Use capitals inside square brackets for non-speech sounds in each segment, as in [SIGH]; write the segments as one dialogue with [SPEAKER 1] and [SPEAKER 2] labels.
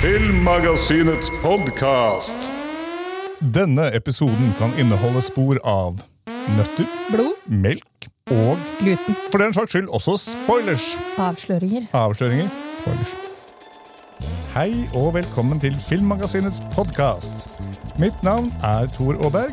[SPEAKER 1] Filmmagasinets podkast.
[SPEAKER 2] Denne episoden kan inneholde spor av nøtter,
[SPEAKER 3] Blod,
[SPEAKER 2] melk og
[SPEAKER 3] gluten,
[SPEAKER 2] for den saks skyld også spoilers.
[SPEAKER 3] avsløringer.
[SPEAKER 2] Avsløringer. Spoilers. Hei og velkommen til Filmmagasinets podkast. Mitt navn er Tor Aaberg,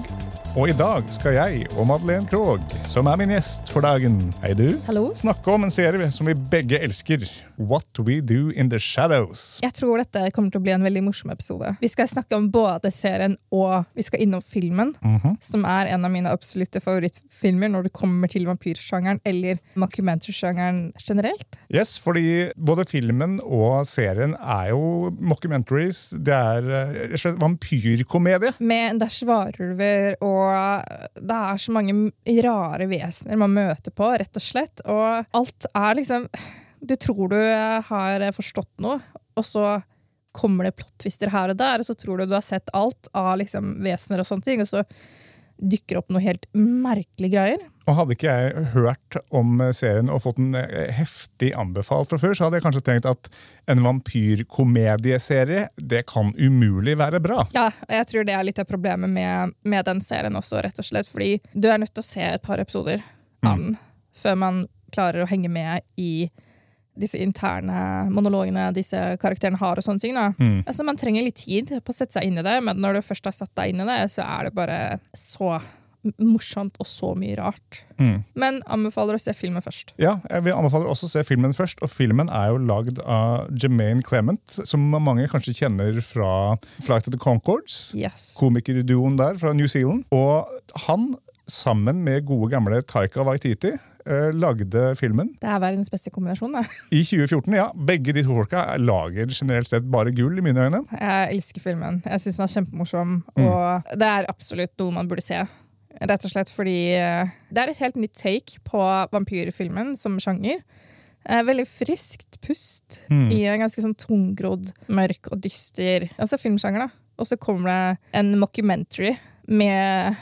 [SPEAKER 2] og i dag skal jeg og Madeleine Krogh, som er min gjest for dagen, hei du,
[SPEAKER 3] Hallo.
[SPEAKER 2] snakke om en serie som vi begge elsker, What We Do In The Shadows.
[SPEAKER 3] Jeg tror dette kommer til å bli en veldig morsom episode. Vi skal snakke om både serien og vi skal innom filmen, som er en av mine absolutte favorittfilmer når det kommer til vampyrsjangeren eller mockumentary-sjangeren generelt.
[SPEAKER 2] Yes, fordi både filmen og serien er jo mockumentaries. Det er eh, rett og slett vampyrkomedie.
[SPEAKER 3] Med det er svarulver og det er så mange rare vesener man møter på, rett og slett. Og alt er liksom Du tror du har forstått noe, og så kommer det plottvister her og der, og så tror du du har sett alt av liksom vesener og sånne ting, og så dukker opp noe helt merkelige greier.
[SPEAKER 2] Og hadde ikke jeg hørt om eh, serien og fått en eh, heftig anbefalt fra før, så hadde jeg kanskje tenkt at en vampyrkomedieserie, det kan umulig være bra.
[SPEAKER 3] Ja, og jeg tror det er litt av problemet med, med den serien også, rett og slett. Fordi du er nødt til å se et par episoder av den før man klarer å henge med i disse interne monologene disse karakterene har og sånne ting. Da. Altså, man trenger litt tid på å sette seg inn i det, men når du først har satt deg inn i det, så er det bare så m- morsomt og så mye rart. Men anbefaler å se filmen først.
[SPEAKER 2] Ja, jeg vil anbefaler også å se filmen først, og filmen er jo lagd av Jemaine Clement, som mange kanskje kjenner fra Flight of the Concords.
[SPEAKER 3] Yes.
[SPEAKER 2] komikerduoen der fra New Zealand. Og han, sammen med gode gamle Taika Waititi, eh, lagde filmen
[SPEAKER 3] Det er verdens beste kombinasjon. Da.
[SPEAKER 2] i 2014. Ja, begge de to folka lager generelt sett bare gull, i mine øyne.
[SPEAKER 3] Jeg elsker filmen. Jeg syns den er kjempemorsom.
[SPEAKER 2] Mm.
[SPEAKER 3] Og det er absolutt noe man burde se. Rett og slett fordi eh, det er et helt nytt take på vampyrfilmen som sjanger. Eh, Veldig friskt pust
[SPEAKER 2] Mm.
[SPEAKER 3] i en ganske sånn tungrodd, mørk og dyster altså filmsjanger. da. Og så kommer det en mockumentary med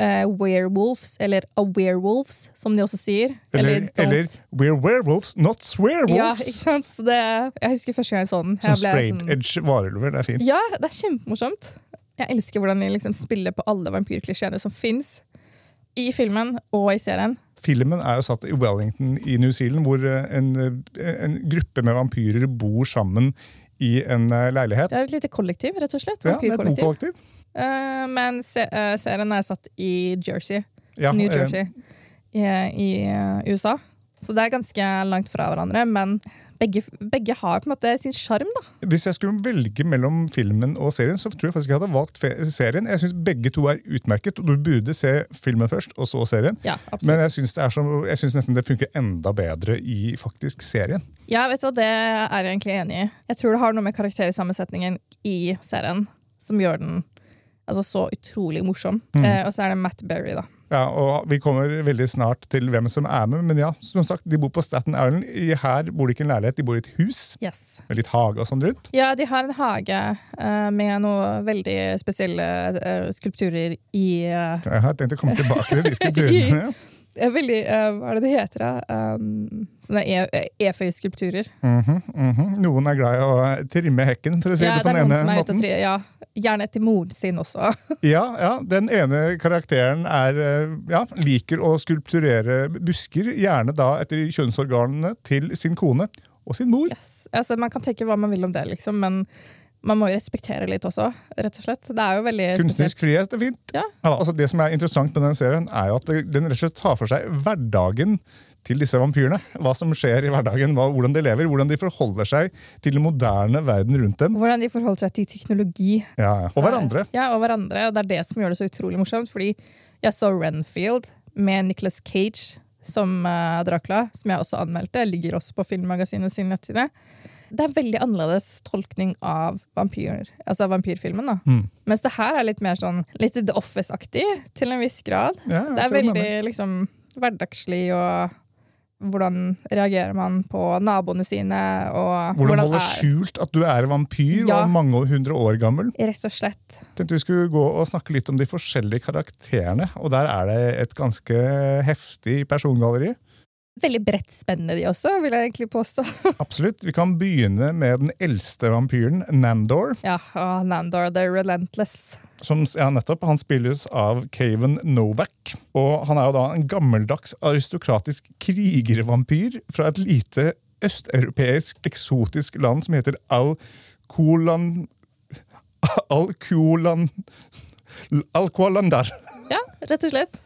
[SPEAKER 3] eh, werewolves, eller a werewolves, som de også sier.
[SPEAKER 2] Eller,
[SPEAKER 3] don't-
[SPEAKER 2] eller We're werewolves, not
[SPEAKER 3] ja, ikke
[SPEAKER 2] swearwolves!
[SPEAKER 3] sant? Så det, jeg husker første gang jeg så den.
[SPEAKER 2] Som
[SPEAKER 3] Jeg ble
[SPEAKER 2] straight
[SPEAKER 3] sånn-
[SPEAKER 2] edge varulver. Det er fint.
[SPEAKER 3] ja, det er kjempemorsomt. Jeg elsker hvordan de liksom spiller på alle vampyrklisjeene som fins. I filmen og i serien.
[SPEAKER 2] Filmen er jo satt i Wellington i New Zealand, hvor eh, en, eh, en gruppe med vampyrer bor sammen i en eh, leilighet.
[SPEAKER 3] Det er et lite kollektiv, rett og slett.
[SPEAKER 2] Ja, det er et
[SPEAKER 3] Vampyrkollektiv.
[SPEAKER 2] bokollektiv.
[SPEAKER 3] Eh, men se eh, serien er satt i Jersey.
[SPEAKER 2] Ja,
[SPEAKER 3] New
[SPEAKER 2] eh,
[SPEAKER 3] Jersey i, i eh, USA. Så det er ganske langt fra hverandre, men begge, begge har på en måte sin sjarm, da.
[SPEAKER 2] Hvis jeg skulle velge mellom filmen og serien, så tror jeg faktisk jeg hadde valgt fe- serien. Jeg syns begge to er utmerket, og du burde se filmen først, og så serien.
[SPEAKER 3] Ja, absolutt.
[SPEAKER 2] Men jeg syns det er som- jeg syns nesten det funker enda bedre i faktisk serien.
[SPEAKER 3] Ja, vet du hva, det er jeg egentlig enig i. Jeg tror det har noe med karaktersammensetningen i serien som gjør den altså, så utrolig morsom.
[SPEAKER 2] Mm.
[SPEAKER 3] Eh, og så er det Matt Berry, da.
[SPEAKER 2] Ja, og Vi kommer veldig snart til hvem som er med, men ja, som sagt, de bor på Staten Island. I- Her bor de ikke i en leilighet, de bor i et hus
[SPEAKER 3] Yes.
[SPEAKER 2] med litt hage og sånn rundt.
[SPEAKER 3] Ja, de har en hage eh, med noen veldig spesielle eh, skulpturer i eh,
[SPEAKER 2] Jeg har tenkt å komme tilbake til de
[SPEAKER 3] [LAUGHS]
[SPEAKER 2] skulpturene.
[SPEAKER 3] eh, Veldig eh, Hva er det det heter, da? Um, sånne e- eføyskulpturer.
[SPEAKER 2] Mhm, mhm. Noen er glad i å trimme hekken, for å si
[SPEAKER 3] Ja,
[SPEAKER 2] det på
[SPEAKER 3] det er
[SPEAKER 2] den
[SPEAKER 3] noen
[SPEAKER 2] ene
[SPEAKER 3] som er ute
[SPEAKER 2] måten.
[SPEAKER 3] og tri... Ja, gjerne etter moren sin også.
[SPEAKER 2] Ja, ja, den ene karakteren er, eh, ja, liker å skulpturere busker, gjerne da etter kjønnsorganene til sin kone og sin mor.
[SPEAKER 3] Yes. [LAUGHS] Altså, man kan tenke hva man vil om det, liksom, men man må jo respektere litt også, rett og slett. Det er jo veldig spesielt.
[SPEAKER 2] Kunstnerisk frihet er fint.
[SPEAKER 3] Ja.
[SPEAKER 2] Altså, det som er interessant med den serien, er jo at det- den rett og slett tar for seg hverdagen til disse vampyrene. Hva som skjer i hverdagen, hva, hvordan de lever, hvordan de forholder seg til den moderne verden rundt dem.
[SPEAKER 3] Hvordan de forholder seg til teknologi. eh,
[SPEAKER 2] Ja, ja. Og hverandre.
[SPEAKER 3] Ja, og hverandre. Og det er det som gjør det så utrolig morsomt, fordi jeg så Renfield med Nicholas Cage som eh, Dracula, som jeg også anmeldte. Ligger også på Filmmagasinet sin nettside. Det er veldig annerledes tolkning av vampyrer, altså vampyrfilmen. da.
[SPEAKER 2] Mm.
[SPEAKER 3] Mens det her er litt mer sånn litt The Office-aktig, til en viss grad.
[SPEAKER 2] Ja, jeg
[SPEAKER 3] det
[SPEAKER 2] ser hva
[SPEAKER 3] er
[SPEAKER 2] du
[SPEAKER 3] veldig liksom hverdagslig og hvordan reagerer man på naboene sine, og
[SPEAKER 2] Hvordan holde
[SPEAKER 3] er-
[SPEAKER 2] skjult at du er vampyr
[SPEAKER 3] Ja.
[SPEAKER 2] og mange hundre år gammel.
[SPEAKER 3] Rett og slett.
[SPEAKER 2] tenkte vi skulle gå og snakke litt om de forskjellige karakterene. Og der er det et ganske heftig persongalleri.
[SPEAKER 3] Veldig bredt spennende, de også, vil jeg egentlig påstå.
[SPEAKER 2] Absolutt. Vi kan begynne med den eldste vampyren, Nandor.
[SPEAKER 3] [LAUGHS] ja, og Nandor the Relentless.
[SPEAKER 2] Som ja, nettopp, Han spilles av Caven Novak. Og han er jo da en gammeldags aristokratisk krigervampyr fra et lite østeuropeisk eksotisk land som heter Al-Kulan... Al-Kulan... Al-Kualandar.
[SPEAKER 3] Ja, rett og slett.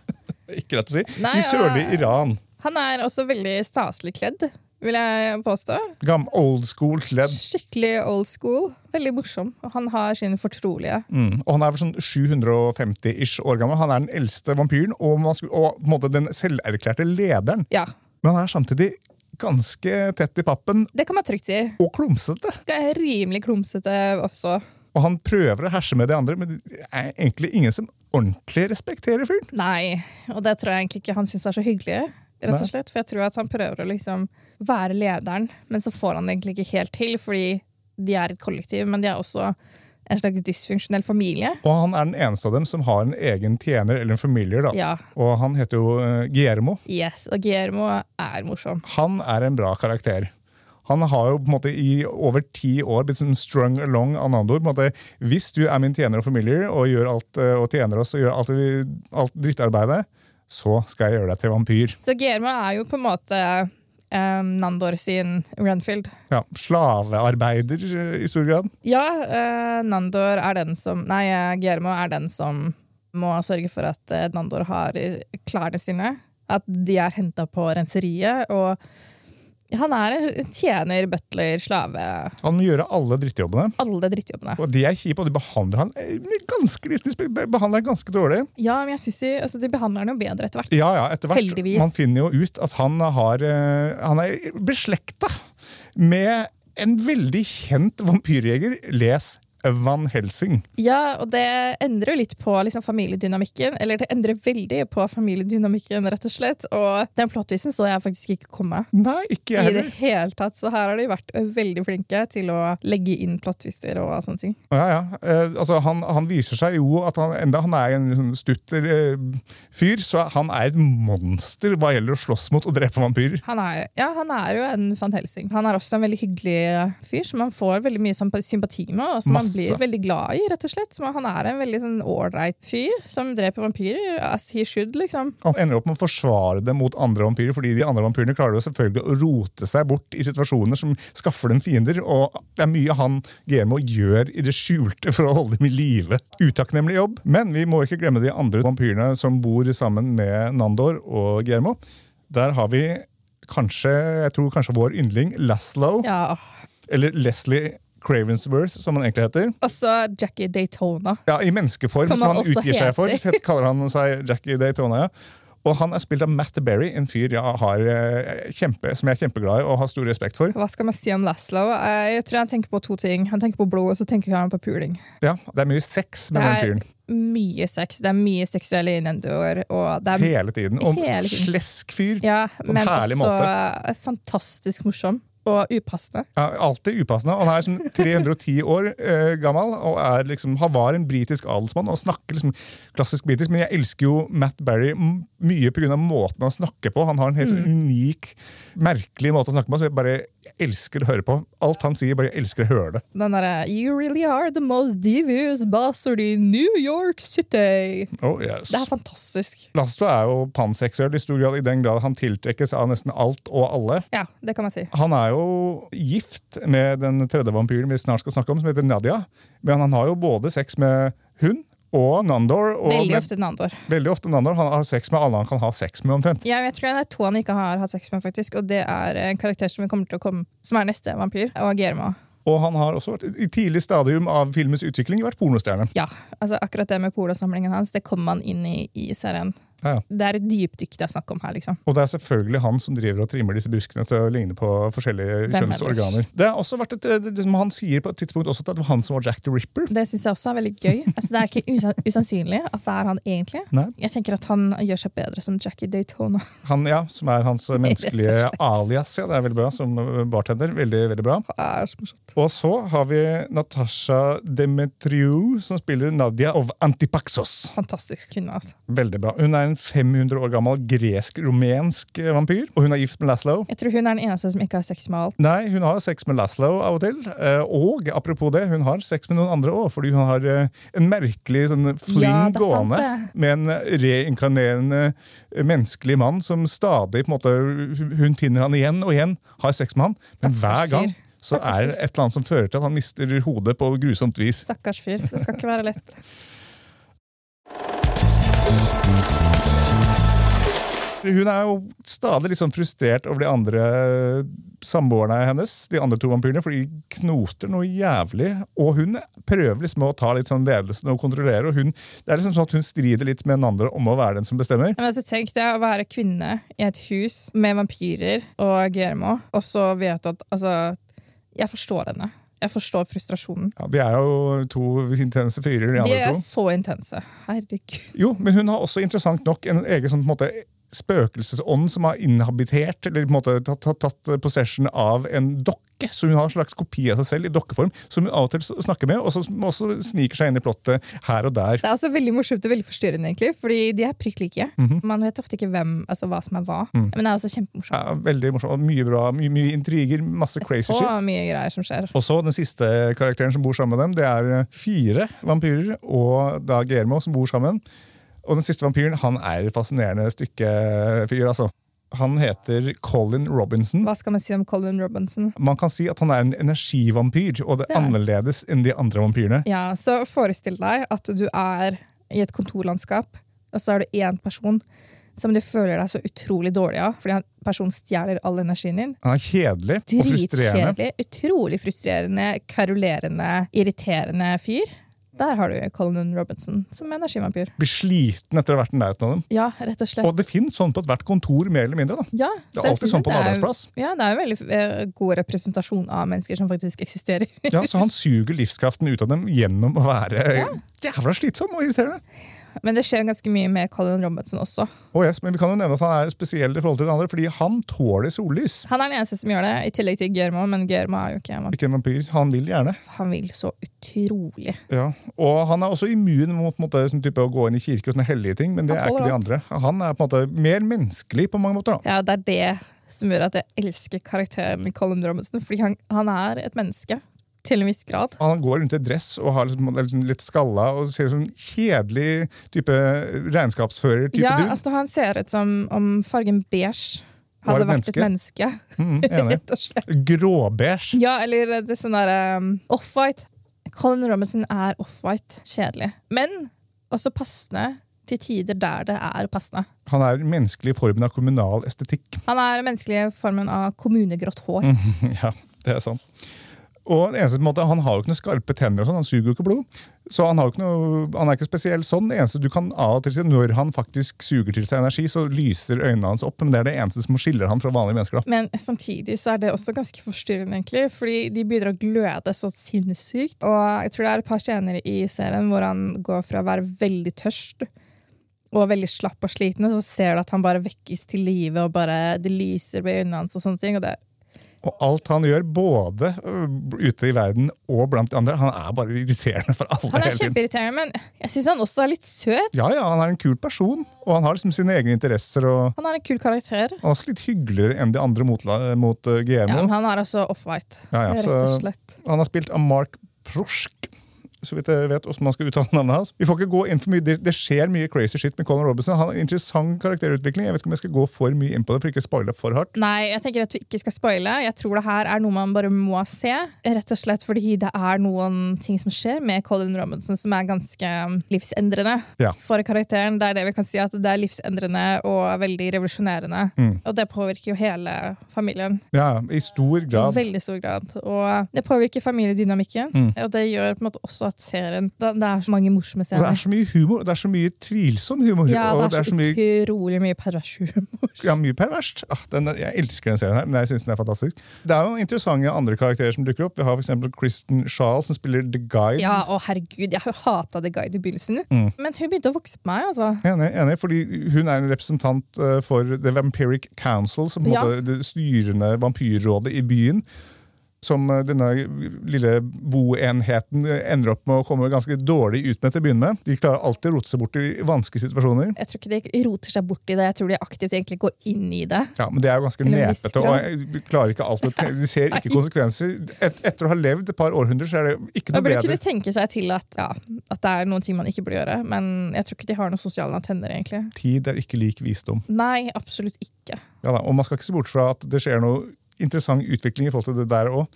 [SPEAKER 2] [LAUGHS] Ikke lett å si.
[SPEAKER 3] Nei,
[SPEAKER 2] I sørlig
[SPEAKER 3] ja.
[SPEAKER 2] Iran.
[SPEAKER 3] Han er også veldig staselig kledd, vil jeg påstå.
[SPEAKER 2] Gam, old school kledd.
[SPEAKER 3] Skikkelig old school. Veldig morsom. Og han har sin fortrolige.
[SPEAKER 2] Mm. Og han er vel sånn 750-ish år gammel. Han er den eldste vampyren og, man skulle, og på en måte den selverklærte lederen.
[SPEAKER 3] Ja,
[SPEAKER 2] Men han er samtidig ganske tett i pappen
[SPEAKER 3] det kan man trygt si.
[SPEAKER 2] og klumsete.
[SPEAKER 3] Det er rimelig klumsete også.
[SPEAKER 2] Og han prøver å herse med de andre, men det er egentlig ingen som ordentlig respekterer fyren.
[SPEAKER 3] Nei, og det tror jeg egentlig ikke han syns er så hyggelig. Rett
[SPEAKER 2] Nei.
[SPEAKER 3] og slett, For jeg tror at han prøver å liksom være lederen, men så får han det egentlig ikke helt til, fordi de er et kollektiv, men de er også en slags dysfunksjonell familie.
[SPEAKER 2] Og han er den eneste av dem som har en egen tjener eller en familier. da.
[SPEAKER 3] Ja.
[SPEAKER 2] Og han heter jo eh, Guillermo.
[SPEAKER 3] Yes, Og Guillermo er morsom.
[SPEAKER 2] Han er en bra karakter. Han har jo på en måte i over ti år blitt som strung along av Nandor. på en måte, Hvis du er min tjener og familier og, gjør alt, eh, og tjener oss og gjør alt, vi, alt drittarbeidet, så skal jeg gjøre deg til vampyr.
[SPEAKER 3] Så Guillermo er jo på en måte eh, Nandor sin Renfield.
[SPEAKER 2] Ja, Slavearbeider eh, i stor grad.
[SPEAKER 3] Ja, eh, Nandor er den som Nei, eh, Guillermo er den som må sørge for at eh, Nandor har i- klærne sine. At de er henta på renseriet. Og han er en tjener, butler, slave.
[SPEAKER 2] Han må gjøre alle drittjobbene.
[SPEAKER 3] Alle drittjobbene.
[SPEAKER 2] Og de er kjipe, og de behandler han eh, med ganske lite respekt. be- Behandler han ganske dårlig.
[SPEAKER 3] Ja, men jeg synes de, altså, de behandler han jo bedre etter hvert.
[SPEAKER 2] Ja, ja, etter hvert.
[SPEAKER 3] Heldigvis.
[SPEAKER 2] Man finner jo ut at han, har, eh, han er beslekta med en veldig kjent vampyrjeger. Les Van Helsing.
[SPEAKER 3] Ja, og det endrer jo litt på liksom, familiedynamikken. Eller det endrer veldig på familiedynamikken, rett og slett. Og den plottvisen så jeg faktisk ikke komme.
[SPEAKER 2] Nei, ikke jeg
[SPEAKER 3] I det
[SPEAKER 2] heller.
[SPEAKER 3] hele tatt, så her har de vært veldig flinke til å legge inn plottvister og sånne ting.
[SPEAKER 2] Ja, ja. Eh, altså, han, han viser seg jo at han, enda han er en sånn stutter eh, fyr, så han er et monster hva gjelder å slåss mot og drepe vampyrer.
[SPEAKER 3] Han er, ja, han er jo en Van Helsing. Han er også en veldig hyggelig fyr som man får veldig mye sampa- sympati med, og som man
[SPEAKER 2] Masse.
[SPEAKER 3] blir veldig glad i, rett og slett. Så han er en veldig sånn ålreit fyr som dreper vampyrer, as he should, liksom.
[SPEAKER 2] Han ender opp med å forsvare det mot andre vampyrer, fordi de andre vampyrene klarer jo selvfølgelig å rote seg bort i situasjoner som skaffer dem fiender, og det er mye han Guillermo gjør i det skjulte for å holde dem i live. Utakknemlig jobb, men vi må ikke glemme de andre vampyrene som bor sammen med Nandor og Guillermo. Der har vi kanskje, jeg tror kanskje vår yndling, Laszlo,
[SPEAKER 3] Ja.
[SPEAKER 2] eller Leslie Cravensworth, som han egentlig heter.
[SPEAKER 3] Også Jackie Daytona.
[SPEAKER 2] Ja, I menneskeform,
[SPEAKER 3] Som
[SPEAKER 2] som
[SPEAKER 3] han
[SPEAKER 2] han,
[SPEAKER 3] også
[SPEAKER 2] utgir seg for.
[SPEAKER 3] heter.
[SPEAKER 2] Så kaller han seg Jackie Daytona. ja. Og han er spilt av Matt Berry, en fyr jeg har, eh, kjempe, som jeg er kjempeglad i og har stor respekt for.
[SPEAKER 3] Hva skal man si om Laszlo? Eh, Jeg tror han tenker på to ting. Han tenker på blod, og så tenker han på puling.
[SPEAKER 2] Ja, Det er mye sex med
[SPEAKER 3] Det
[SPEAKER 2] den
[SPEAKER 3] er
[SPEAKER 2] fyren.
[SPEAKER 3] Mye sex. Det er mye seksuelle innendoer, og det er
[SPEAKER 2] Hele tiden. Og
[SPEAKER 3] hele tiden.
[SPEAKER 2] slesk fyr.
[SPEAKER 3] Ja,
[SPEAKER 2] en
[SPEAKER 3] men
[SPEAKER 2] herlig
[SPEAKER 3] også fantastisk morsom og upassende.
[SPEAKER 2] Ja, alltid upassende. Og Han er liksom 310 år eh, gammel og er liksom, han var en britisk adelsmann og snakker liksom klassisk britisk. Men jeg elsker jo Matt Berry m- mye pga. måten han snakker på. Han har en helt sånn unik, merkelig måte å snakke på, så jeg bare elsker å høre på. Alt han sier, bare jeg elsker å høre det.
[SPEAKER 3] Den derre You really are the most devious bastard in New York City.
[SPEAKER 2] Oh, yes.
[SPEAKER 3] Det er fantastisk.
[SPEAKER 2] Lasso er jo panseksuell i stor grad, i den grad han tiltrekkes av nesten alt og alle.
[SPEAKER 3] Ja, det kan man si.
[SPEAKER 2] Han er jo gift med den tredje vampyren vi snart skal snakke om, som heter Nadia. Men han har jo både sex med hun og Nandor. Og
[SPEAKER 3] Veldig
[SPEAKER 2] med,
[SPEAKER 3] ofte Nandor.
[SPEAKER 2] veldig ofte Nandor. Han har sex med alle han kan ha sex med, omtrent.
[SPEAKER 3] Ja, jeg tror det er to han ikke har hatt sex med, faktisk. Og det er en karakter som, kommer til å komme, som er neste vampyr, og Guillermo.
[SPEAKER 2] Og han har også vært i tidlig stadium av filmens utvikling vært pornostjerne.
[SPEAKER 3] Ja, altså akkurat det med polosamlingen hans, det kommer man inn i i serien.
[SPEAKER 2] Ja, ja.
[SPEAKER 3] Det er et dypdykk det er snakk om her, liksom.
[SPEAKER 2] Og det er selvfølgelig han som driver og trimmer disse buskene til å ligne på forskjellige
[SPEAKER 3] Hvem
[SPEAKER 2] kjønnsorganer. Det er også vært et, eh, det, det som Han sier på et tidspunkt også at det var han som var Jack the Ripper.
[SPEAKER 3] Det syns jeg også er veldig gøy. Altså, det er ikke usan- usannsynlig at det er han egentlig.
[SPEAKER 2] Nei.
[SPEAKER 3] Jeg tenker at han gjør seg bedre som Jackie Daytona. [LAUGHS]
[SPEAKER 2] Han, ja, som er hans eh,
[SPEAKER 3] Rett [LAUGHS]
[SPEAKER 2] menneskelige
[SPEAKER 3] og slett.
[SPEAKER 2] alias. Ja, det er veldig bra som eh, bartender. Veldig, veldig bra.
[SPEAKER 3] Det er så morsomt.
[SPEAKER 2] Og så har vi Natasha Demetriou, som spiller Nadia of Antipaxos.
[SPEAKER 3] Fantastisk kvinne, altså.
[SPEAKER 2] Veldig bra. Hun er en 500 år gammel gresk-rumensk eh, vampyr, og hun er gift med Laszlo.
[SPEAKER 3] Jeg tror hun er den eneste som ikke har sex med alt.
[SPEAKER 2] Nei, hun har sex med Laszlo av og til. eh, Og apropos det, hun har sex med noen andre òg, fordi hun har eh, en merkelig sånn fling
[SPEAKER 3] Ja, det er sant,
[SPEAKER 2] gående
[SPEAKER 3] det.
[SPEAKER 2] med en reinkarnerende eh, menneskelig mann som stadig på en måte, Hun finner han igjen og igjen, har sex med han, men
[SPEAKER 3] Stakkars
[SPEAKER 2] hver gang
[SPEAKER 3] fyr.
[SPEAKER 2] så
[SPEAKER 3] Stakkars
[SPEAKER 2] er det et eller annet som fører til at han mister hodet på grusomt vis.
[SPEAKER 3] Stakkars fyr. Det skal ikke være lett.
[SPEAKER 2] Hun er jo stadig litt sånn frustrert over de andre eh, samboerne hennes, de andre to vampyrene, for de knoter noe jævlig. Og hun prøver liksom å ta litt sånn ledelsen og kontrollere, og hun, det er liksom sånn at hun strider litt med den andre om å være den som bestemmer.
[SPEAKER 3] Men altså, tenk deg å være kvinne i et hus med vampyrer og Germo, og så vet du at Altså, jeg forstår henne. Jeg forstår frustrasjonen.
[SPEAKER 2] Ja, De er jo to intense fyrer, de
[SPEAKER 3] De
[SPEAKER 2] andre
[SPEAKER 3] er
[SPEAKER 2] to.
[SPEAKER 3] så intense. Herregud.
[SPEAKER 2] Jo, men hun har også interessant nok en egen sånn på en måte spøkelsesånd som har inhabitert, eller på en måte tatt, tatt, tatt possession av en dokke. Så hun har en slags kopi av seg selv i dokkeform, som hun av og til s- snakker med, og som også sniker seg inn i plottet her og der.
[SPEAKER 3] Det er også veldig morsomt og veldig forstyrrende, egentlig, fordi de er prikk like.
[SPEAKER 2] Mhm.
[SPEAKER 3] Man vet ofte ikke hvem, altså, hva som er hva, men det er også kjempemorsomt.
[SPEAKER 2] Mm. Ja, veldig morsomt. og Mye bra, mye, mye intriger, masse crazy
[SPEAKER 3] så
[SPEAKER 2] shit.
[SPEAKER 3] mye greier som skjer.
[SPEAKER 2] Og så den siste karakteren som bor sammen med dem, det er eh, fire vampyrer og da Germo som bor sammen. Og den siste vampyren han er et fascinerende stykke fyr, altså. Han heter Colin Robinson.
[SPEAKER 3] Hva skal man si om Colin Robinson?
[SPEAKER 2] Man kan si at han er en energivampyr, og det
[SPEAKER 3] Det
[SPEAKER 2] er
[SPEAKER 3] er han.
[SPEAKER 2] annerledes enn de andre vampyrene.
[SPEAKER 3] Ja, så forestill deg at du er i et kontorlandskap, og så er du én person som du føler deg så utrolig dårlig av, fordi han personen stjeler all energien din.
[SPEAKER 2] Han er kjedelig og frustrerende.
[SPEAKER 3] Dritkjedelig, utrolig frustrerende, karolerende, irriterende fyr. Der har du Colin Robinson som energivampyr.
[SPEAKER 2] Blir sliten etter å ha vært i nærheten av dem.
[SPEAKER 3] Ja, rett og slett.
[SPEAKER 2] Og det fins sånn på ethvert kontor, mer eller mindre. da.
[SPEAKER 3] Ja,
[SPEAKER 2] Det er alltid sånn på en
[SPEAKER 3] selvfølgelig, det er-
[SPEAKER 2] arbeidsplass.
[SPEAKER 3] Ja, det er en veldig eh, god representasjon av mennesker som faktisk eksisterer. [LAUGHS]
[SPEAKER 2] Ja, Så han suger livskraften ut av dem gjennom å være jævla slitsom og irriterende.
[SPEAKER 3] Men det skjer ganske mye med Colin Robinson også.
[SPEAKER 2] Oh yes, men vi kan jo nevne at han er spesiell i forhold til de andre, fordi han tåler sollys.
[SPEAKER 3] Han er den eneste som gjør det, i tillegg til Germo, men Germo er jo ikke en vampyr.
[SPEAKER 2] Ikke en vampyr. Han vil gjerne.
[SPEAKER 3] Han vil så utrolig.
[SPEAKER 2] Ja. Og han er også immun mot på en måte, sånn type, å gå inn i kirke og sånne hellige ting, men det
[SPEAKER 3] Han
[SPEAKER 2] er ikke
[SPEAKER 3] tåler
[SPEAKER 2] de andre. Han er på en måte mer menneskelig på mange måter. da.
[SPEAKER 3] Ja, det er det som gjør at jeg elsker karakteren Colin Robinson, fordi han, han er et menneske. Til en viss grad.
[SPEAKER 2] Han går rundt i dress og har liksom, er liksom litt skalla og ser ut som en kjedelig type regnskapsfører-type
[SPEAKER 3] Ja,
[SPEAKER 2] dude.
[SPEAKER 3] altså Han ser ut som om fargen beige hadde
[SPEAKER 2] Var
[SPEAKER 3] vært
[SPEAKER 2] et
[SPEAKER 3] et menneske. [LAUGHS]
[SPEAKER 2] Mm, enig.
[SPEAKER 3] Rett og slett.
[SPEAKER 2] Gråbeige.
[SPEAKER 3] Ja, eller det sånn derre um, Off-white. Colin Robinson er off-white. Kjedelig. Men også passende til tider der det er passende.
[SPEAKER 2] Han er den menneskelige formen av kommunal estetikk.
[SPEAKER 3] Han er den menneskelige formen av kommunegrått hår.
[SPEAKER 2] [LAUGHS] Mm. Ja, det er sant. Og den eneste måte, Han har jo ikke noen skarpe tenner, og sånn, han suger jo ikke blod. Så han, har jo ikke noe, han er ikke spesiell sånn. Det eneste du kan av og til si, Når han faktisk suger til seg energi, så lyser øynene hans opp. Men det er det eneste som skiller han fra vanlige mennesker. da.
[SPEAKER 3] Men samtidig så er det også ganske forstyrrende, egentlig, fordi de begynner å gløde så sinnssykt. Og jeg tror det er et par scener i serien hvor han går fra å være veldig tørst og veldig slapp og sliten, og så ser du at han bare vekkes til live, og bare det lyser ved øynene hans og sånne ting. Og det,
[SPEAKER 2] Og alt han gjør, både ø, ute i verden og blant de andre, han er bare irriterende for alle.
[SPEAKER 3] han
[SPEAKER 2] hele
[SPEAKER 3] er
[SPEAKER 2] tiden.
[SPEAKER 3] kjempeirriterende, men jeg syns han også er litt søt.
[SPEAKER 2] Ja, ja, han er en kul person, og han har liksom sine egne interesser. og
[SPEAKER 3] Han er en kul karakter.
[SPEAKER 2] og også litt hyggeligere enn de andre mot, mot eh,
[SPEAKER 3] Ja,
[SPEAKER 2] GMO.
[SPEAKER 3] men han er også off-white,
[SPEAKER 2] Ja, ja,
[SPEAKER 3] rett og
[SPEAKER 2] så-
[SPEAKER 3] slett.
[SPEAKER 2] Han er spilt av Mark Prosk. Så vidt jeg vet hvordan man skal uttale navnet hans. Vi får ikke gå inn for mye, Det, det skjer mye crazy shit med Colin Robinson. Han har en interessant karakterutvikling. Jeg vet ikke om jeg skal gå for mye inn på det, for ikke å spoile for hardt.
[SPEAKER 3] Nei, jeg tenker at vi ikke skal spoile. Jeg tror det her er noe man bare må se. Rett og slett fordi det er noen ting som skjer med Colin Robinson som er ganske um, livsendrende
[SPEAKER 2] Ja.
[SPEAKER 3] for karakteren. Det er det vi kan si, at det er livsendrende og veldig revolusjonerende.
[SPEAKER 2] Mm.
[SPEAKER 3] Og det påvirker jo hele familien
[SPEAKER 2] Ja, I stor
[SPEAKER 3] i
[SPEAKER 2] grad.
[SPEAKER 3] veldig stor grad. Og det påvirker familiedynamikken,
[SPEAKER 2] Mm.
[SPEAKER 3] og det gjør på en måte også at serien Det det er så mange
[SPEAKER 2] Og
[SPEAKER 3] morsomme
[SPEAKER 2] det er
[SPEAKER 3] scener.
[SPEAKER 2] så mye humor, og det er så mye tvilsom humor.
[SPEAKER 3] Ja,
[SPEAKER 2] og
[SPEAKER 3] det er så
[SPEAKER 2] mye,
[SPEAKER 3] utrolig mye pervers humor.
[SPEAKER 2] ja, mye perverst. Ah, den, jeg elsker den serien her. men Jeg synes den er fantastisk. Det er jo interessante andre karakterer som dukker opp. Vi har for eksempel Kristen Shahl, som spiller The Guide.
[SPEAKER 3] Ja, og herregud, jeg hata The Guide i begynnelsen, men hun begynte å vokse på meg, altså.
[SPEAKER 2] Enig, enig, fordi hun er en representant eh, for The Vampiric Council, som på en
[SPEAKER 3] Ja.
[SPEAKER 2] måte det styrende vampyrrådet i byen. som eh, denne lille boenheten eh, ender opp med å komme ganske dårlig ut med til å begynne med. De klarer alltid å rote seg bort i vanskelige situasjoner.
[SPEAKER 3] Jeg tror ikke de roter seg bort i det. Jeg tror de aktivt egentlig går inn i det.
[SPEAKER 2] Ja, Men det er jo ganske
[SPEAKER 3] Til en viss
[SPEAKER 2] nepete. og
[SPEAKER 3] grad.
[SPEAKER 2] jeg klarer ikke alt å te- De ser ikke konsekvenser. Et, etter å ha levd et par århundrer, så er det ikke noe
[SPEAKER 3] Man burde
[SPEAKER 2] bedre.
[SPEAKER 3] kunne tenke seg til at, ja, at det er noen ting man ikke burde gjøre, men jeg tror ikke de har noen sosiale antenner, egentlig.
[SPEAKER 2] Tid er ikke lik visdom.
[SPEAKER 3] Nei, absolutt ikke.
[SPEAKER 2] Ja da, Og man skal ikke se bort fra at det skjer noe interessant utvikling i forhold til det der òg.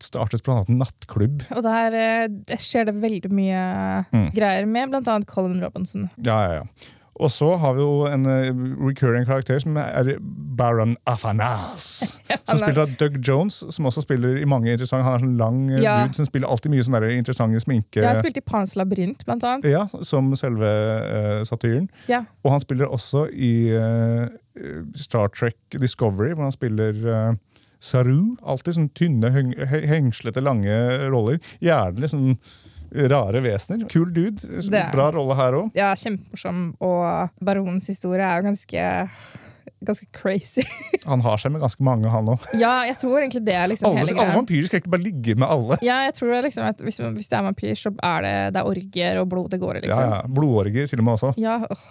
[SPEAKER 2] Startes blant annet en nattklubb.
[SPEAKER 3] Og der, eh, det skjer det veldig mye greier med, blant annet Colin Robinson.
[SPEAKER 2] Ja, ja, ja. Og så har vi jo en eh, recurring karakter som er Baron
[SPEAKER 3] [LAUGHS]
[SPEAKER 2] Afanas. Som
[SPEAKER 3] han er-
[SPEAKER 2] spiller av Doug Jones, som også spiller i mange interessante Han er sånn lang eh,
[SPEAKER 3] Ja.
[SPEAKER 2] dude som spiller alltid mye sånn der interessante sminke.
[SPEAKER 3] Jeg har spilt i Pans labyrint, blant annet.
[SPEAKER 2] Ja, Som selve eh, satyren.
[SPEAKER 3] Ja.
[SPEAKER 2] Og han spiller også i eh, Star Trek Discovery, hvor han spiller eh, Saru. Alltid sånn tynne, heng he- hengslete, lange roller. Gjerne litt sånn rare vesener. Kul dude.
[SPEAKER 3] Det er
[SPEAKER 2] Bra rolle her òg.
[SPEAKER 3] ja, kjempemorsom, og baronens historie er jo ganske Ganske crazy.
[SPEAKER 2] Han har seg med ganske mange, han òg.
[SPEAKER 3] [LAUGHS] ja, jeg tror egentlig det er liksom
[SPEAKER 2] Alle,
[SPEAKER 3] hele
[SPEAKER 2] alle
[SPEAKER 3] greia.
[SPEAKER 2] vampyrer skal ikke bare ligge med alle.
[SPEAKER 3] Ja, jeg tror det er liksom at hvis, hvis du er vampyr, så er det, det er orgier og blod det går i,
[SPEAKER 2] Ja,
[SPEAKER 3] liksom.
[SPEAKER 2] ja. Blodorger til og med også.
[SPEAKER 3] Ja, åh.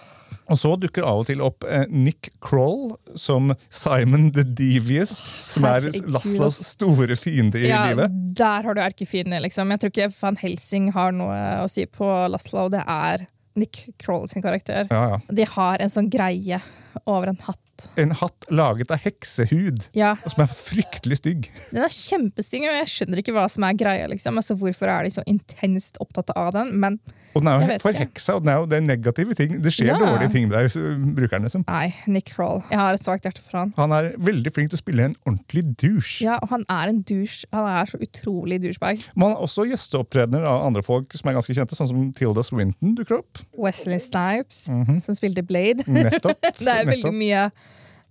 [SPEAKER 2] Og så dukker av og til opp eh, Nick Kroll som Simon the Devious, som er
[SPEAKER 3] herregud.
[SPEAKER 2] Laslos store fiende i
[SPEAKER 3] ja
[SPEAKER 2] livet.
[SPEAKER 3] der har du erkefienden, liksom. Jeg tror ikke Van Helsing har noe å si på Laszlo. Det er Nick Kroll sin karakter.
[SPEAKER 2] Ja, ja.
[SPEAKER 3] De har en sånn greie over en hatt.
[SPEAKER 2] En hatt laget av heksehud.
[SPEAKER 3] Ja,
[SPEAKER 2] Og som er fryktelig stygg.
[SPEAKER 3] Den er kjempestygg, og jeg skjønner ikke hva som er greia. liksom. Altså, Hvorfor er de så intenst opptatt av den? Men
[SPEAKER 2] Og den er
[SPEAKER 3] Jeg
[SPEAKER 2] jo
[SPEAKER 3] vet ikke.
[SPEAKER 2] forheksa, og den er jo, det er negative ting. Det skjer
[SPEAKER 3] Ja.
[SPEAKER 2] dårlige ting med deg, så- bruker den liksom.
[SPEAKER 3] nei, Nick Kroll. Jeg har et svakt hjerte for han.
[SPEAKER 2] Han er veldig flink til å spille en ordentlig douche.
[SPEAKER 3] Ja, og han er en douche. Han er så utrolig douchebag.
[SPEAKER 2] Man har også gjesteopptredener av andre folk som er ganske kjente, sånn som Tilda Swinton dukker opp.
[SPEAKER 3] Wesley Snipes, som spilte Blade.
[SPEAKER 2] Nettopp.
[SPEAKER 3] [LAUGHS] Det er veldig
[SPEAKER 2] Mhm. Nettopp.
[SPEAKER 3] mye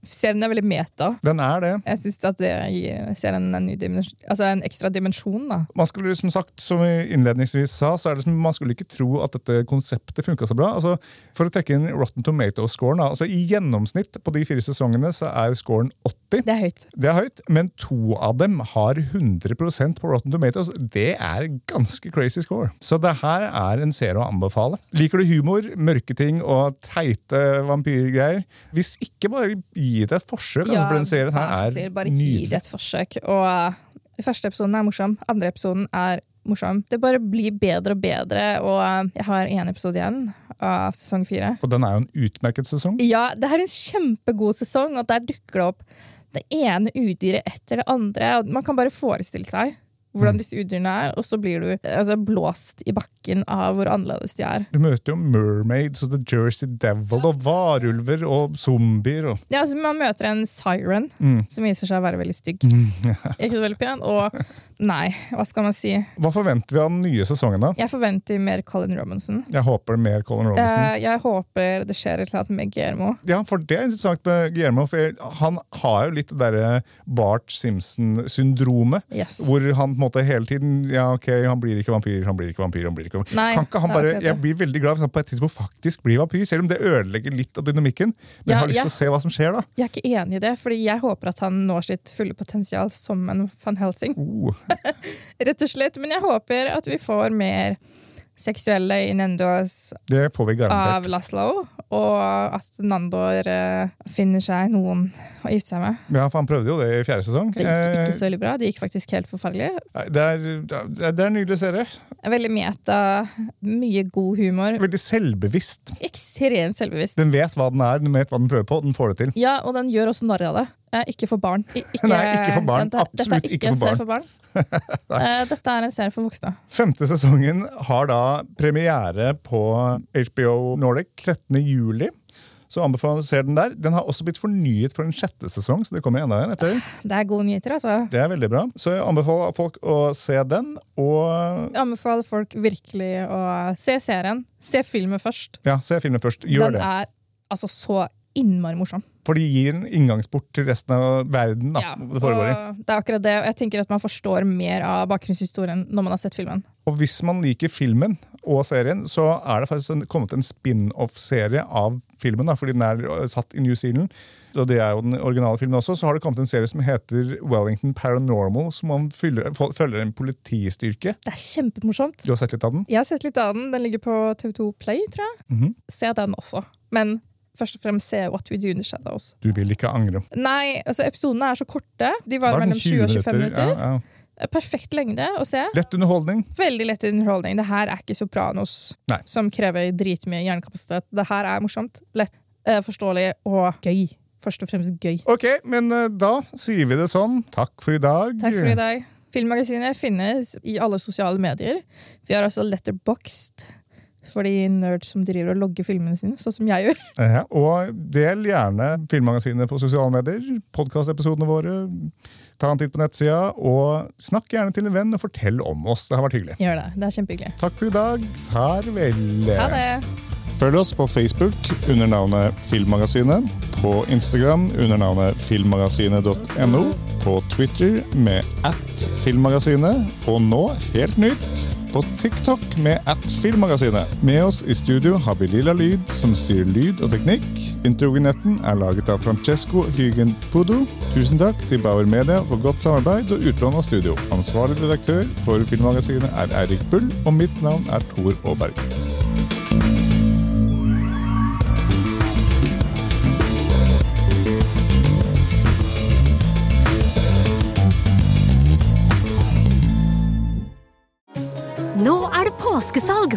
[SPEAKER 3] Serien er veldig meta.
[SPEAKER 2] Den er det.
[SPEAKER 3] Jeg syns at det gir serien en, ny dimensjon, altså en ekstra dimensjon, da.
[SPEAKER 2] Man skulle, som sagt, som vi innledningsvis sa, så er det som, man skulle ikke tro at dette konseptet funka så bra. Altså, for å trekke inn Rotten Tomato-scoren, da, altså, i gjennomsnitt på de fire sesongene så er scoren 80.
[SPEAKER 3] Det er høyt.
[SPEAKER 2] Det er høyt, men to av dem har 100 på Rotten Tomatoes. Det er ganske crazy score. Så det her er en serie å anbefale. Liker du humor, mørke ting og teite vampyrgreier? Hvis ikke, bare gi det et forsøk. altså, for den serien her
[SPEAKER 3] vær så snill,
[SPEAKER 2] er
[SPEAKER 3] bare gi det
[SPEAKER 2] nydelig.
[SPEAKER 3] et forsøk. Og eh, første episoden er morsom, andre episoden er morsom. Det bare blir bedre og bedre, og eh, jeg har én episode igjen av sesong fire.
[SPEAKER 2] Og den er jo en utmerket sesong.
[SPEAKER 3] Ja, det er en kjempegod sesong, og der dukker det opp det ene udyret etter det andre. og Man kan bare forestille seg
[SPEAKER 2] Mm.
[SPEAKER 3] hvordan disse udyrene er, og så blir du altså, blåst i bakken av hvor annerledes de er.
[SPEAKER 2] Du møter jo mermaids og The Jersey Devil og varulver og zombier. Og
[SPEAKER 3] Ja, altså, man møter en siren
[SPEAKER 2] Mm.
[SPEAKER 3] som viser seg å være veldig stygg.
[SPEAKER 2] [LAUGHS]
[SPEAKER 3] Ikke så veldig pen. Og nei, hva skal man si?
[SPEAKER 2] hva forventer vi av den nye sesongen, da?
[SPEAKER 3] Jeg forventer mer Colin Robinson.
[SPEAKER 2] Jeg håper mer Colin Robinson.
[SPEAKER 3] Eh, jeg håper det skjer et eller annet med Guillermo.
[SPEAKER 2] Ja, for det er interessant med Guillermo, for jeg- han har jo litt det derre Bart Simpson-syndromet.
[SPEAKER 3] Yes.
[SPEAKER 2] Hvor han på en måte hele tiden Ja, ok, han blir ikke vampyr, han blir ikke vampyr. han blir ikke vampyr.
[SPEAKER 3] Nei,
[SPEAKER 2] kan ikke han
[SPEAKER 3] det er
[SPEAKER 2] bare,
[SPEAKER 3] akkurat det.
[SPEAKER 2] Jeg blir veldig glad hvis han på et tidspunkt faktisk blir vampyr, selv om det ødelegger litt av dynamikken. Men jeg
[SPEAKER 3] Ja,
[SPEAKER 2] har lyst til
[SPEAKER 3] ja.
[SPEAKER 2] å se hva som skjer, da.
[SPEAKER 3] Jeg er ikke enig i det, fordi jeg håper at han når sitt fulle potensial som en van Helsing.
[SPEAKER 2] Oh,
[SPEAKER 3] Rett og slett, Men jeg håper at vi får mer seksuelle innuendos
[SPEAKER 2] det får vi garantert.
[SPEAKER 3] av Laszlo. Og at Nandor eh, finner seg noen å gifte seg med.
[SPEAKER 2] Ja, for Han prøvde jo det i fjerde sesong.
[SPEAKER 3] Det gikk
[SPEAKER 2] Eh,
[SPEAKER 3] ikke så veldig bra. Det gikk faktisk helt forferdelig.
[SPEAKER 2] Det er, det er- det er en nydelig serie.
[SPEAKER 3] Veldig meta, mye god humor.
[SPEAKER 2] Veldig selvbevisst.
[SPEAKER 3] Ekstremt selvbevisst.
[SPEAKER 2] Den vet hva den er, den vet hva den prøver på, den får det til.
[SPEAKER 3] Ja, og den gjør også narr av det. Eh, Ikke for barn. I-
[SPEAKER 2] [LAUGHS] Nei, ikke for barn.
[SPEAKER 3] Dette, dette
[SPEAKER 2] Absolutt
[SPEAKER 3] er
[SPEAKER 2] ikke
[SPEAKER 3] ikke en
[SPEAKER 2] for
[SPEAKER 3] serie for barn.
[SPEAKER 2] [LAUGHS]
[SPEAKER 3] Eh, Dette er en serie for voksne.
[SPEAKER 2] Femte sesongen har da premiere på HBO Nordic 13. juli. Så anbefaler jeg å se den der. Den har også blitt fornyet for en sjette sesong, så det kommer enda en etter.
[SPEAKER 3] Det er gode nyheter, altså.
[SPEAKER 2] Det er veldig bra. Så jeg anbefaler folk å se den, og
[SPEAKER 3] Jeg anbefaler folk virkelig å se serien. Se filmen først.
[SPEAKER 2] ja, se filmen først. Gjør
[SPEAKER 3] den
[SPEAKER 2] det.
[SPEAKER 3] er altså så innmari morsom.
[SPEAKER 2] For de gir en inngangsport til resten av verden. da,
[SPEAKER 3] Ja,
[SPEAKER 2] det foregår i.
[SPEAKER 3] og det er akkurat det. Og jeg tenker at man forstår mer av bakgrunnshistorien når man har sett filmen.
[SPEAKER 2] Og hvis man liker filmen og serien, så er det faktisk en, kommet en spin-off-serie av filmen, da, fordi den er eh, satt i New Zealand, og det er jo den originale filmen også, så har det kommet en serie som heter Wellington Paranormal, som om fyller, fol- følger en politistyrke.
[SPEAKER 3] Det er kjempemorsomt.
[SPEAKER 2] Du har sett litt av den?
[SPEAKER 3] Jeg har sett litt av den. Den ligger på TV2 Play, tror jeg.
[SPEAKER 2] Mhm.
[SPEAKER 3] Se den også. Men først og fremst se What We Do in the Shadows.
[SPEAKER 2] Du vil ikke angre.
[SPEAKER 3] Nei, altså episodene er så korte. De
[SPEAKER 2] Da
[SPEAKER 3] varer
[SPEAKER 2] er den
[SPEAKER 3] mellom 20 og 25 minutter.
[SPEAKER 2] Ja, ja.
[SPEAKER 3] Perfekt lengde å se.
[SPEAKER 2] Lett underholdning.
[SPEAKER 3] Veldig lett underholdning. Det her er ikke Sopranos,
[SPEAKER 2] Nei.
[SPEAKER 3] som krever dritmye hjernekapasitet. Det her er morsomt, lett, eh, forståelig og gøy. Først og fremst gøy.
[SPEAKER 2] Ok, men eh, da sier vi det sånn. Takk for i dag.
[SPEAKER 3] Takk for i dag. Filmmagasinet finnes i alle sosiale medier. Vi har også Letterboxd for de nerds som driver og logger filmene sine, sånn som jeg gjør. [LAUGHS]
[SPEAKER 2] Eh, og del gjerne Filmmagasinet på sosiale medier, podkastepisodene våre. Ta en titt på nettsida, og snakk gjerne til en venn og fortell om oss. Det har vært hyggelig.
[SPEAKER 3] Gjør det. Det er kjempehyggelig.
[SPEAKER 2] Takk for i dag. Farvel.
[SPEAKER 3] Ha det!
[SPEAKER 2] Følg oss på Facebook under navnet Filmmagasinet, på Instagram under navnet filmmagasinet.no, på Twitter med at filmmagasinet, og nå, helt nytt, på TikTok med at filmmagasinet. Med oss i studio har vi Lilla Lyd, som styrer lyd og teknikk. Introvinetten er laget av Francesco Hygen Pudo. Tusen takk til Bauer Media for godt samarbeid og utlån av studio. Ansvarlig redaktør for Filmmagasinet er Eirik Bull, og mitt navn er Tor Aaberg.
[SPEAKER 4] Nå er det påskesalg